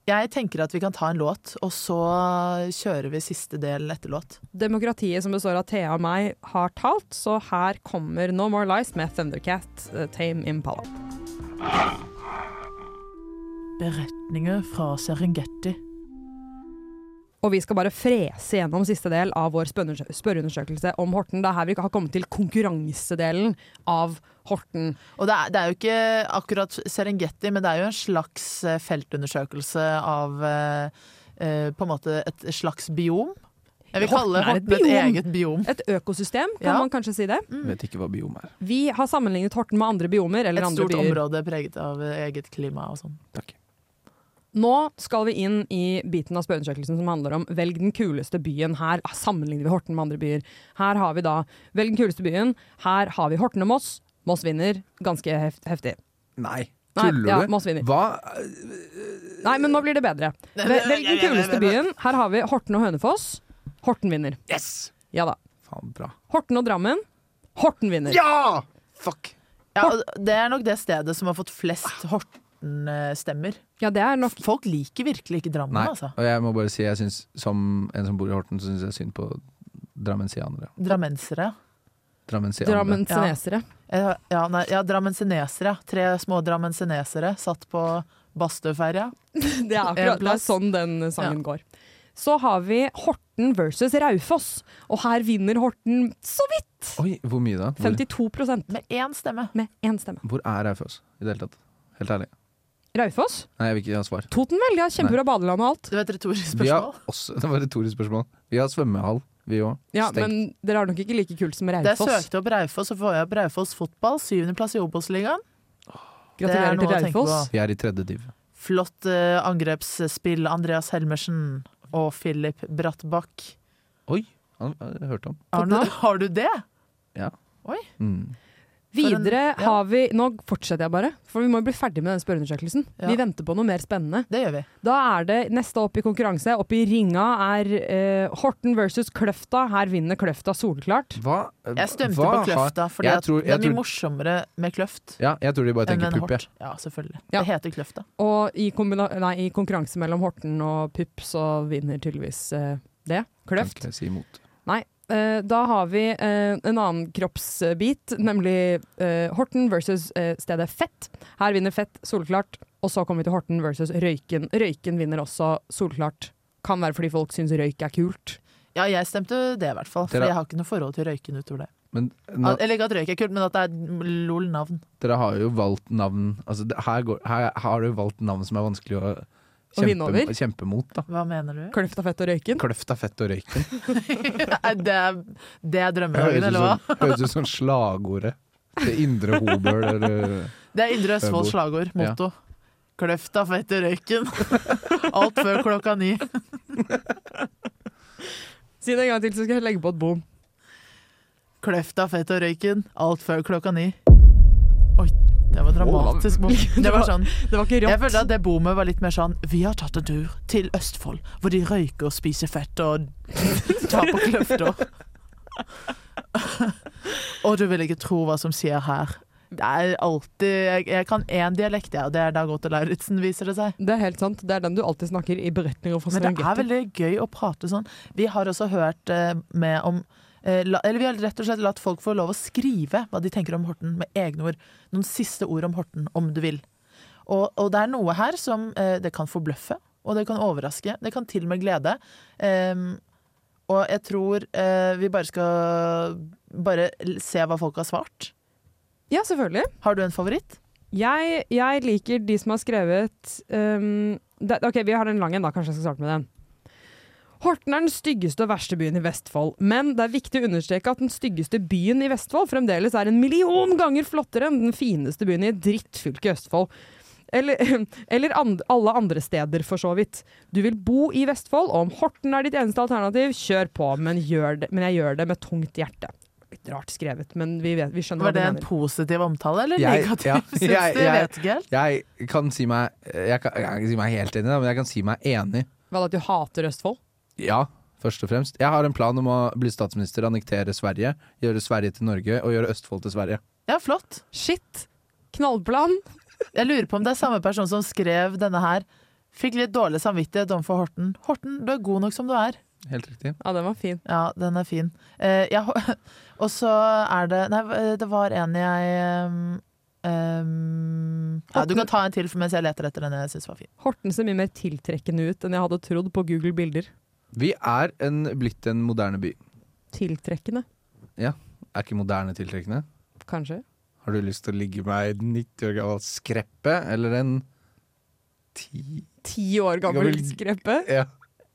Jeg tenker at vi kan ta en låt, og så kjører vi siste del etter låt.
Demokratiet som består av Thea og meg, har talt, så her kommer No More Lies med Thundercat, eh, Tame Impala.
Beretninger fra Serengeti.
Og vi skal bare frese gjennom siste del av vår spørreundersø- spørreundersøkelse om Horten. Det er her vi har kommet til konkurransedelen av Horten.
Og det er, det er jo ikke akkurat Serengeti, men det er jo en slags eh, feltundersøkelse av eh, eh, på en måte et slags biom. Jeg vil
Horten
kalle
er et
Horten et
biom.
eget biom.
Et økosystem, kan
Ja.
man kanskje si det.
Vet ikke hva biom er.
Vi har sammenlignet Horten med andre biomer. Eller
Et
andre
stort
byer.
område preget av eh, eget klima og sånn.
Takk.
Nå skal vi inn i biten av spørreundersøkelsen som handler om velg den kuleste byen her. Ah, Sammenligner vi Horten med andre byer? Her har vi da velg den kuleste byen. Her har vi Horten og Moss. Moss vinner ganske heft heftig.
Nei.
Nei,
Tuller
ja,
du?
Moss vinner.
Hva?
Nei, men nå blir det bedre. Vel- Velg den kuleste byen. Her har vi Horten og Hønefoss. Horten vinner.
Yes!
Ja da.
Faen, bra.
Horten og Drammen. Horten vinner.
Ja! Fuck.
Ja, og det er nok det stedet som har fått flest Horten-stemmer.
Ja, det er nok
Folk liker virkelig ikke Drammen,
Nei,
altså.
og jeg må bare si jeg synes, som en som bor i Horten, så syns jeg synd på drammensianere.
Drammensere.
Drammensianere.
drammensenesere.
Eh, Ja, nei, ja drammensenesere. Tre små drammensenesere satt på Bastøferja.
Det er
En
akkurat det er
plass.
sånn den sangen
Ja.
går. Så har vi Horten versus Raufoss, og her vinner Horten så vidt.
Oi, hvor mye da? Hvor,
52
Med én stemme.
med én stemme.
hvor er Raufoss i det hele tatt? Helt ærlig.
Raufoss?
Nei, jeg vil ikke ha svar.
Toten vel, de har kjempebra badeland og alt.
Det var et retorisk
Vi har
spørsmål.
også, det var et retorisk spørsmål. Vi har svømmehall, vi òg.
Ja, men dere har nok ikke like kult som
Da jeg
Raufoss.
søkte opp Raufoss, så får jeg opp Raufoss fotball. Syvendeplass i Obos-ligaen.
Gratulerer
Det er
til
noe å tenke
Raufoss.
på.
Vi er i tredje div.
Flott eh, angrepsspill. Andreas Helmersen og Philip Brattbakk.
Oi! Han har jeg hørt om.
Har du, har du det?
Mm.
en-
Videre
ja.
har vi Nå fortsetter jeg bare, for vi må jo bli ferdig med den spørreundersøkelsen.
Ja.
Vi venter på noe mer spennende.
Det gjør vi.
Da er det neste opp i konkurranse. Opp i ringa er eh, Horten versus Kløfta. Her vinner Kløfta soleklart.
Hva eh,
Jeg stemte
hva
på Kløfta,
har-
for
jeg tror,
det
jeg
er mye
tror,
morsommere med Kløft
ja, jeg tror de bare
enn
tenker
en
pupp, jeg.
Hort. Ja, selvfølgelig.
Ja.
Det heter Kløfta.
Og i, kombina- nei, i konkurranse mellom Horten og Pupp så vinner tydeligvis eh, det.
Kan
Kløft.
ikke jeg si imot.
Eh, da har vi eh, en annen kroppsbit, nemlig eh, Horten versus eh, stedet Fett. Her vinner Fett solklart, og så kommer vi til Horten versus Røyken. Røyken vinner også solklart. Kan være fordi folk syns røyk er kult.
Ja, jeg stemte det, i hvert fall. For
Dere-
jeg har ikke noe forhold til røyken utover det.
Men nå,
At, eller ikke at røyk er kult, men at det er lol-navn.
dere har jo valgt navn altså, det- her, går, her har du valgt navn som er vanskelig å
vinne over?
kjempe, kjempe mot. Da.
Hva mener du?
Kløfta fett og røyken.
Kløft er fett og røyken.
Er det, det er drømmedagen,
Høres ut
eller hva?
som, høres ut som slagordet. Det indre hobøl eller
Det er Indre Østfolds slagord, motto. Kløfta fett i røyken. Alt før klokka ni.
Si det en gang til, så skal jeg legge på et bom.
Kløfta fett og røyken. Alt før klokka ni. Oi, det var dramatisk. bom. Det var sånn
Det var ikke
Jeg
rått.
følte at det bomet var litt mer sånn Vi har tatt en tur til Østfold, hvor de røyker og spiser fett og tar på kløfter. og du vil ikke tro hva som skjer her. Det er alltid Jeg, jeg kan én dialekt, jeg, og det er Dag Otto Lauritzen, viser det seg.
Det er helt sant. Det er den du alltid snakker i beretninger fra
Men det er
Serengeti.
veldig gøy å prate sånn. Vi har også hørt eh, med om eh, la, Eller vi har rett og slett latt folk få lov å skrive hva de tenker om Horten, med egne ord. Noen siste ord om Horten, om du vil. Og, og det er noe her som eh, det kan forbløffe, og det kan overraske. Det kan til og med glede. Em, og jeg tror eh, vi bare skal bare l- se hva folk har svart.
Ja, selvfølgelig.
Har du en favoritt?
Jeg, jeg liker de som har skrevet ehm, det, Ok, vi har en lang en, da. Kanskje jeg skal starte med den. Horten er den styggeste og verste byen i Vestfold, men det er viktig å understreke at den styggeste byen i Vestfold fremdeles er en million ganger flottere enn den fineste byen i et drittfylke i Østfold. Eller, eller and, alle andre steder, for så vidt. Du vil bo i Vestfold, og om Horten er ditt eneste alternativ, kjør på, men, gjør det, men jeg gjør det med tungt hjerte. Litt rart skrevet, men vi, vet, vi skjønner
Var det
hva du
en
mener.
positiv omtale, eller
Jeg-
negativ?
ja,
Syns du?
jeg-
Jeg
jeg-
vet ikke helt.
Jeg kan si meg Jeg kan, jeg kan ikke si meg helt enig, da, men jeg kan si meg enig.
Hva da, at du hater Østfold?
Ja, først og fremst. Jeg har en plan om å bli statsminister, annektere Sverige, gjøre Sverige til Norge og gjøre Østfold til Sverige.
Ja, flott.
Shit! Knallplan.
Jeg lurer på om det er samme person som skrev denne her. Fikk litt dårlig samvittighet overfor Horten. Horten, du er god nok som du er.
Helt riktig.
Ja, den var fin.
Ja, den er fin. Eh, jeg, ho- og så er det Nei, eh, det var en jeg um, um, ja, Du kan ta en til for mens jeg leter etter den jeg syns var fin.
Horten ser mye mer tiltrekkende ut enn jeg hadde trodd på Google Bilder.
Vi er en, blitt en moderne by.
Tiltrekkende,
Er ikke moderne tiltrekkende?
kanskje.
Har du lyst til å ligge med ei 90 år gammel skreppe eller en 10
Ti år gammel
Gammel-
skreppe.
Ja.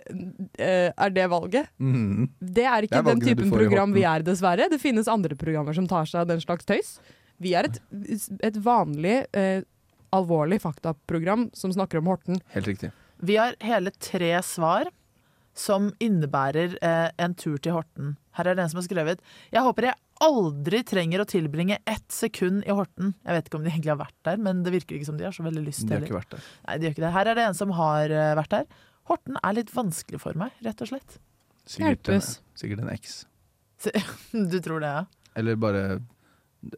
Eh, er det valget?
Mm.
Det er ikke
Det er
den
valgene du
typen
får i
program vi
Horten.
er, dessverre. Det finnes andre programmer som tar seg av den slags tøys. Vi er et, et vanlig, eh, alvorlig faktaprogram som snakker om Horten.
Helt riktig.
Vi har hele tre svar som innebærer eh, en tur til Horten. Her er det en som har skrevet Jeg håper jeg aldri trenger å tilbringe ett sekund i Horten. Jeg vet ikke om de egentlig har vært der, men det virker ikke som de har så veldig lyst
Det har
heller.
ikke vært det.
Nei, det gjør ikke det. Her er det en som har eh, vært her. Horten er litt vanskelig for meg, rett og slett.
Sikkert en,
Hjelpes.
sikkert en eks.
Du tror det, ja?
Eller bare,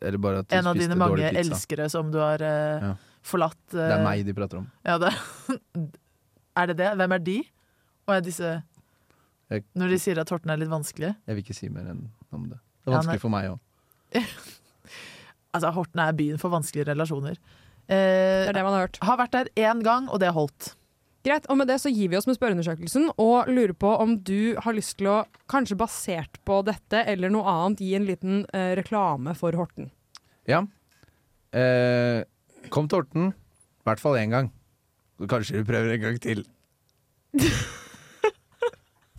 eller bare at du
En av
spiste
dine
dårlig
mange
pizza.
elskere som du har eh,
Ja.
forlatt. eh,
Det er meg de prater om.
Ja, det. Er det det? Hvem er de? Og er disse
Jeg-
Når de sier at Horten er litt vanskelig?
Jeg vil ikke si mer enn om det. Det er
Ja, nei.
vanskelig for meg òg.
Altså, Horten er byen for vanskelige relasjoner. Eh,
Det er det man har hørt.
har vært der én gang, og det holdt.
Greit, og med det så gir vi oss med spørreundersøkelsen og lurer på om du har lyst til å, kanskje basert på dette eller noe annet, gi en liten eh, reklame for Horten.
Ja. Eh, kom til Horten. I hvert fall én gang. Så kanskje du prøver en gang til.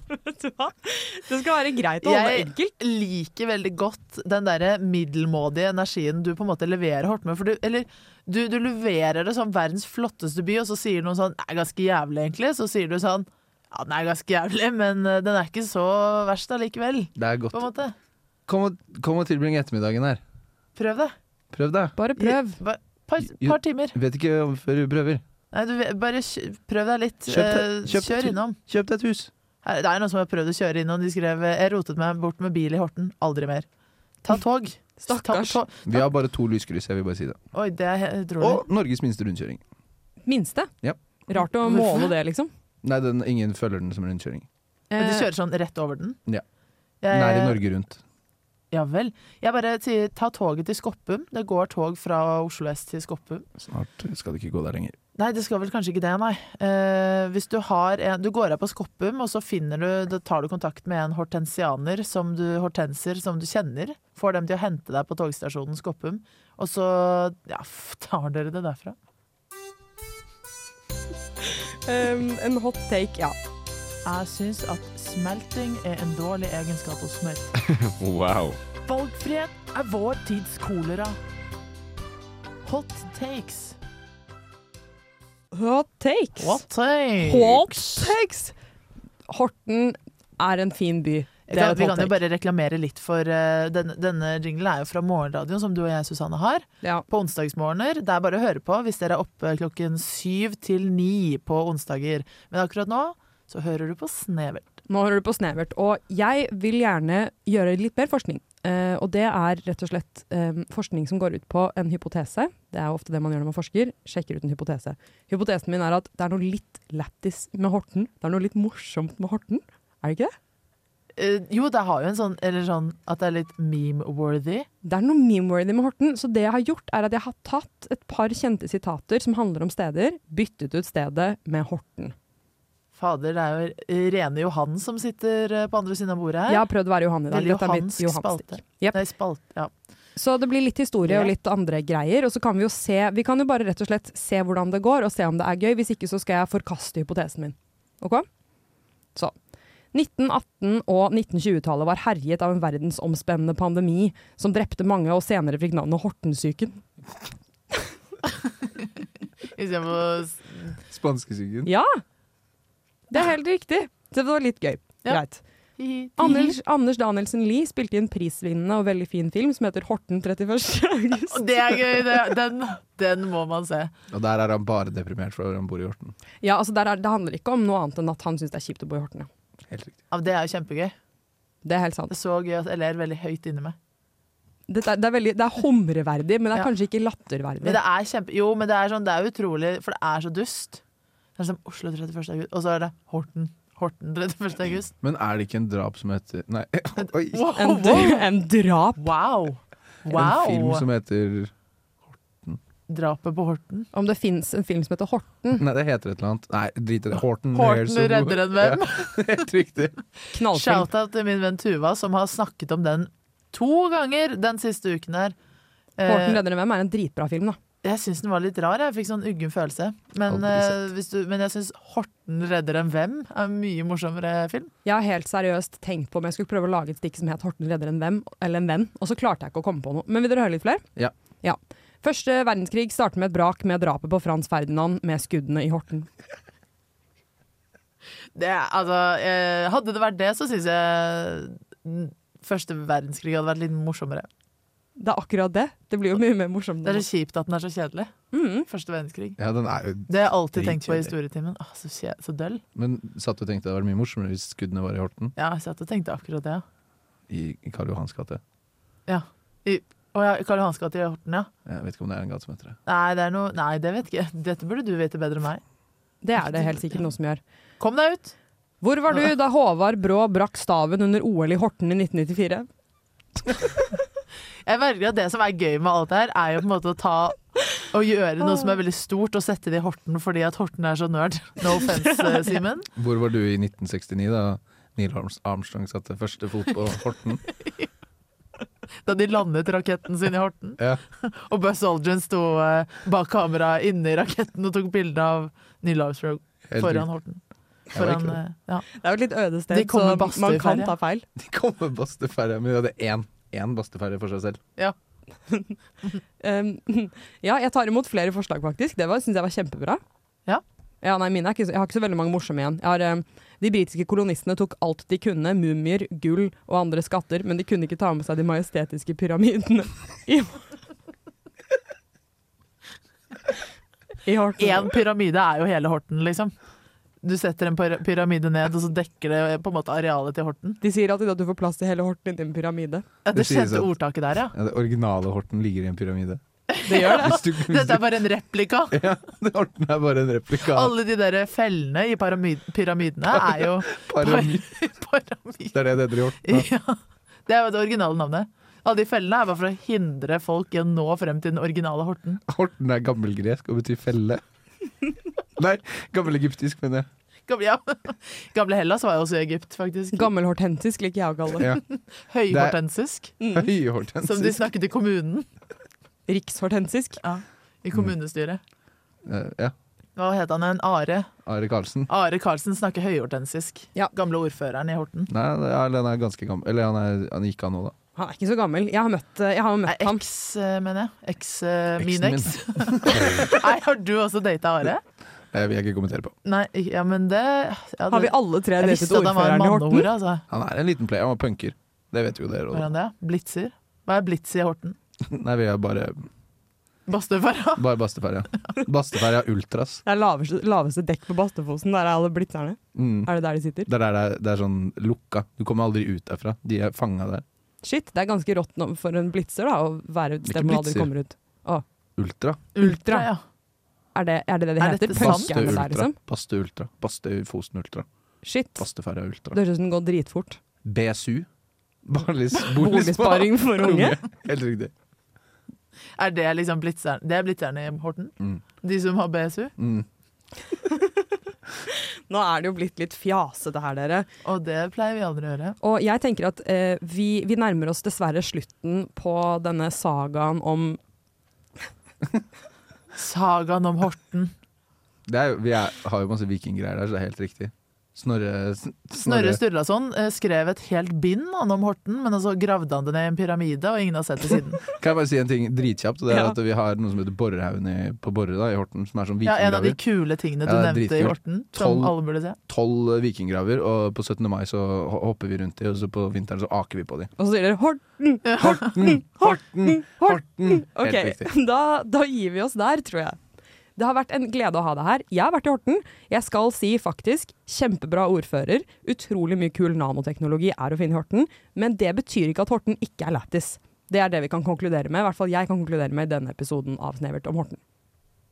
det skal være greit å holde
Jeg
enkelt.
liker veldig godt den derre middelmådige energien du på en måte leverer Horten med. For du, eller, du, du leverer det som verdens flotteste by, og så sier noen sånn Det er ganske jævlig, egentlig. Så sier du sånn Ja, den er ganske jævlig, men eh, den er ikke så verst allikevel.
Det er
På en
godt.
måte.
Kom og, kom og tilbring ettermiddagen her.
Prøv det.
Prøv det.
Bare prøv.
Ba- Par,
Jo.
par timer.
Vet ikke om før du prøver.
Nei, du, vet- bare kjø- prøv deg litt.
Kjøp
Eh,
det- kjøp det
Kjør
til.
innom.
Kjøp deg et hus.
Her, det er noen som har prøvd å kjøre innom. De skrev eh, 'Jeg rotet meg bort med bil i Horten. Aldri mer'. Ta tog.
Stakkars.
Ta, tog.
Vi har bare to lyskryss, jeg vil bare si det.
Oi, det er he- utrolig.
Og Norges minste rundkjøring.
Minste.
Ja.
Rart å
Hvorfor?
måle det, liksom.
Nei, den, ingen følger den som rundkjøring.
Men
Eh,
de kjører sånn rett over den?
Ja.
Jeg-
Nær i Norge rundt.
Ja vel. Jeg bare sier ta toget til Skoppum. Det går tog fra Oslo S til Skoppum.
Snart skal det ikke gå der lenger.
Nei, det skal vel kanskje ikke det, nei. Eh, hvis du har en Du går av på Skoppum, og så finner du Da tar du kontakt med en hortensianer som du, hortenser som du kjenner. Får dem til å hente deg på togstasjonen Skoppum, og så Ja, f- tar dere det derfra.
Um, en hot take, ja.
Jeg syns at smelting er en dårlig egenskap hos smør.
Wow.
Valgfrihet er vår tids kolera. Hot takes.
Hot takes.
Hot takes.
Hot takes. Horten er en fin by. Det er
Kan,
et
vi
hot
kan jo
take.
bare reklamere litt for eh, denne, denne jinglen er jo fra morgenradioen som du og jeg, Susanne, har.
Ja.
På onsdagsmorgener. Det er bare å høre på hvis dere er oppe klokken syv til ni på onsdager. Men akkurat nå så hører du på Snevert.
Nå hører du på Snevert, og jeg vil gjerne gjøre litt mer forskning. Eh, og det er rett og slett eh, forskning som går ut på en hypotese. Det er jo ofte det man gjør når man forsker. Sjekker ut en hypotese. Hypotesen min er at det er noe litt lættis med Horten. Det er noe litt morsomt med Horten. Er det ikke det?
Eh, jo, det har jo en sånn, eller sånn at det er litt meme-worthy.
Det er noe meme-worthy med Horten. Så det jeg har gjort, er at jeg har tatt et par kjente sitater som handler om steder, byttet ut stedet med Horten.
Fader, det er jo eh, rene Johan som sitter eh, på andre siden av bordet her.
Jeg har prøvd å være Johan i dag.
Veldig
Dette er mitt
johansk
Johansstikk.
spalte.
Jep.
Nei, spalt, ja.
Så det blir litt historie og litt andre greier. Og så kan vi jo se Vi kan jo bare rett og slett se hvordan det går, og se om det er gøy. Hvis ikke så skal jeg forkaste hypotesen min. OK? Så. 1918- og 1920-tallet var herjet av en verdensomspennende pandemi som drepte mange og senere fikk navnet Hortensyken.
Hvis jeg må s-
Spanskesyken.
Ja! Det er helt riktig. Så det var litt gøy.
Ja.
Greit.
Hihi.
Anders, Anders Danielsen Lie spilte i en prisvinnende og veldig fin film som heter Horten 31. august.
Det er gøy, det. Den, den må man se.
Og der er han bare deprimert for han bor i Horten.
Ja, altså der er, Det handler ikke om noe annet enn at han syns det er kjipt å bo i Horten. Ja.
Helt riktig.
Ja, det er jo kjempegøy.
Det er helt sant.
Det er så gøy at jeg ler veldig høyt inni meg.
Dette er, det, er veldig, det er humreverdig, men det er
Ja.
kanskje ikke
Men
latterverdig.
det er kjempe... Jo, men det er, sånn, det er utrolig, for det er så dust. Det er som Oslo 31. august, og så er det Horten. Horten 31. august.
Men er det ikke en drap som heter Nei, oi!
Wow!
En, dr- en drap
wow.
En film
wow.
som heter
Drapet på Horten.
om det fins en film som heter Horten.
Nei, det heter et eller annet. Nei, drit i det. Horten,
Horten
Hailsum.
Mm. redder en venn.
Ja, helt riktig.
Knallfilm.
Shout-out til min venn Tuva, som har snakket om den to ganger den siste uken her. Eh,
Horten redder en hvem er en dritbra film, da.
jeg syns den var litt rar. Jeg fikk sånn uggen følelse. Men,
Aldri sett.
eh, hvis du, men jeg syns Horten redder en hvem er en mye morsommere film.
Jeg har helt seriøst tenkt på om jeg skulle prøve å lage et stikk som het Horten redder en hvem, eller en venn, og så klarte jeg ikke å komme på noe. Men vil dere høre litt flere?
Ja.
Første verdenskrig starter med et brak med drapet på Frans Ferdinand med skuddene i Horten.
Det, er- altså, eh, hadde det vært det, så syns jeg mm, første verdenskrig hadde vært litt morsommere.
Det er akkurat det. Det blir jo mye mer morsomt.
Det er
nå.
så kjipt at den er så kjedelig.
Mm.
Første verdenskrig.
Ja, den er jo
Det har jeg alltid
Dritkjedelig.
tenkt på i historietimen. Ah, så, kje, så døll.
Men satt du og tenkte det var mye morsommere hvis skuddene var i Horten?
Ja, jeg satt og tenkte akkurat det. ja.
I i Karl Johans gate.
Å ja, Karl Johans gate i Horten, ja.
Jeg vet ikke om det er en gate som heter det.
Nei, det er noe Nei, det vet ikke jeg. Dette burde du vite bedre enn meg.
Det er det helt sikkert noe som gjør.
Kom deg ut!
Hvor var du da Håvard Brå brakk staven under OL i Horten i 1994?
Jeg merker at det som er gøy med alt det her, er jo på en måte å ta og gjøre noe som er veldig stort, og sette det i Horten fordi at Horten er så nerd. No offense, eh, Simen.
Hvor var du i 1969 da Neil Arms- Armstrong satte første fot på Horten?
Da de landet raketten sin i Horten.
Ja.
Og Buzz Aldrin sto eh, bak kameraet inne i raketten og tok bilde av Neil Armstrong
Helt
foran Horten.
riktig. Jeg
Foran,
var ikke der.
eh, ja.
Det er jo et litt øde
De
sted,
kom med
så
badstue
man
i
kan
ferie.
ta feil.
De kom med basteferja, men de hadde én, én basteferje for seg selv.
Um, ja, jeg tar imot flere forslag, faktisk. Det syns jeg var kjempebra.
Ja.
Ja, nei, mine er ikke, så- jeg har ikke så veldig mange morsomme igjen. Jeg har, um, de britiske kolonistene tok alt de kunne, mumier, gull og andre skatter, men de kunne ikke ta med seg de majestetiske pyramidene i, I Horten.
Én pyramide er jo hele Horten, liksom. Du setter en pyra- pyramide ned, og så dekker det eh, på en måte arealet til Horten.
De sier alltid at du får plass til hele Horten inni en pyramide.
Ja, det
Det sies
kjente
at-
ordtaket der, ja.
Ja, det originale Horten ligger i en pyramide.
Det gjør det.
Hvis du, hvis
Dette
du,
er bare en replika.
ja, det Horten er bare en replika av
Alle de der fellene i pyrami- pyramidene er jo
parami.
pyramid.
Det er det det heter i Horten. da.
Ja. Det er jo det originale navnet. Alle de fellene er bare for å hindre folk i å nå frem til den originale Horten.
Horten er gammelgresk og betyr felle. Nei, gammelegyptisk, mener jeg.
Gamle, ja. Gamle Hellas var jo også i Egypt, faktisk.
Gammelhortensisk liker jeg å kalle det.
Ja.
Høyhortensisk,
Mm.
som de
Høyhortensisk.
snakket i kommunen.
Rikshortensisk.
I kommunestyret.
Eh, Ja.
Hva het han igjen? Are?
Are Karlsen.
Are Karlsen snakker høyhortensisk.
Ja.
Gamle ordføreren i Horten.
Nei, det er- eller han er ganske gammel. Eller han, er, han gikk av nå, da.
Han er ikke så gammel. Jeg har møtt, jeg har jo
Nei,
møtt ham.
Eks, eh, mener jeg. Eks, eh, min
Eksen min.
eks. Nei, har du også data Are?
Jeg vil jeg ikke kommentere på.
Nei, ik- ja, men det ja,
Har vi
det-
alle tre
Jeg
datet
visste at han var en
ordføreren i Horten?
mannehore, altså.
Han er en liten player, han var punker. Det vet jo dere.
Var
også.
han det? Blitzer? Hva er blitz i Horten?
Nei, vi er bare,
Bastøfara?
bare Basteferja. Basteferja Ultras.
Det er laveste, laveste dekk på Bastefosen. Der er alle blitzerne.
Mm.
Er det der de sitter?
Det er, der det, er, det er sånn lukka. Du kommer aldri ut derfra. De er fanga der.
Shit, det er ganske rått nå for en blitzer da, å være et
Ikke
sted hvor man aldri
blitzer.
kommer ut.
Ultra.
Ultra, ja.
Er det er det, det de
Er
heter?
dette sant?
Baste
Punkerne der,
Ultra.
liksom?
Baste Ultra. Baste Fosen Ultra.
Shit.
Basteferja Ultra.
Det høres ut som det går dritfort.
BSU. Barlis,
Boligsparing for unge.
Helt riktig.
Er det liksom blitzeren? Det er blitzerne i Horten?
Mm.
De som har BSU?
Mm.
Nå er det jo blitt litt fjasete her, dere.
Og det pleier vi aldri å gjøre.
Og jeg tenker at eh, vi, vi nærmer oss dessverre slutten på denne sagaen om
Sagaen om Horten.
Det er, jo- vi er, har jo masse vikinggreier der, så det er helt riktig. Snorre Sn-
Snorre Sturlason eh, skrev et helt bind han om Horten, men så gravde han det ned i en pyramide, og ingen har sett det siden.
Kan jeg bare si en ting dritkjapt? og Det er
Ja.
at Vi har noe som heter Borrehaugen i, på Borre da, i Horten, som er sånn
Ja, En av de
vikinggraver.
kule tingene du
Ja, det er
nevnte i
dritkult.
Horten, som
Tolv-
alle burde se.
Tolv eh, vikinggraver, og på 17. mai så ho- hopper vi rundt de, og så på vinteren så aker vi på de.
Og så sier dere Hord.
Horten! Horten! Horten!
Ok,
Helt riktig.
da, da gir vi oss der, tror jeg. Det har vært en glede å ha deg her. Jeg har vært i Horten. Jeg skal si faktisk kjempebra ordfører. Utrolig mye kul nanoteknologi er å finne i Horten. Men det betyr ikke at Horten ikke er lættis. Det er det vi kan konkludere med. I hvert fall jeg kan konkludere med i denne episoden av Snevert om Horten.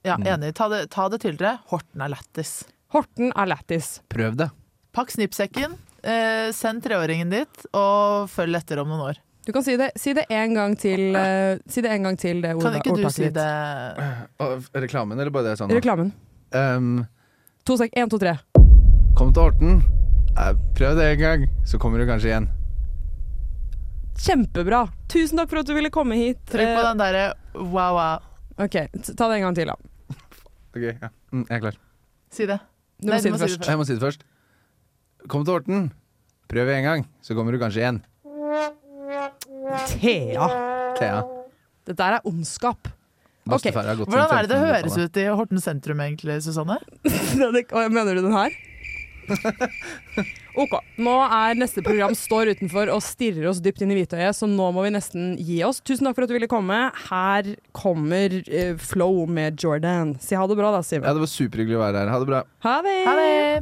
Ja,
Mm.
Enig. Ta det, ta det til dere. Horten er lættis.
Horten er lættis.
Prøv det.
Pakk snippsekken, eh, send treåringen dit, og følg etter om noen år.
Du kan si det, si det en gang til, eh, si det, en gang til det
Kan
orda-
ikke du
ordtaket
si
ditt.
det?
Eh, Og f- reklamen, eller bare det jeg sa nå?
Reklamen.
Ehm,
To sek. Én, to, tre.
kom til Horten. Eh, Prøv det en gang, så kommer du kanskje igjen.
Kjempebra. Tusen takk for at du ville komme hit.
Trykk på den derre wow-wow.
Eh, OK, t- ta det en gang til, da.
Ok, ja. Mm, jeg er klar.
Si det.
Du
Nei,
må si det først.
Jeg må si det først. Kom til Horten. Prøv en gang, så kommer du kanskje igjen.
Thea.
Thea.
Dette er ondskap.
Bastefar har gått siden
Hvordan er det det
1500-tallet.
høres ut i Horten sentrum, egentlig, Susanne?
Mener du den her? OK. Nå er neste program står utenfor og stirrer oss dypt inn i hvitøyet, så nå må vi nesten gi oss. Tusen takk for at du ville komme. Her kommer eh, Flow med Jordan. Si ha det bra, da,
Ja,
Simen.
det var superhyggelig å være her. Ha det bra.
Ha det!
Ha det!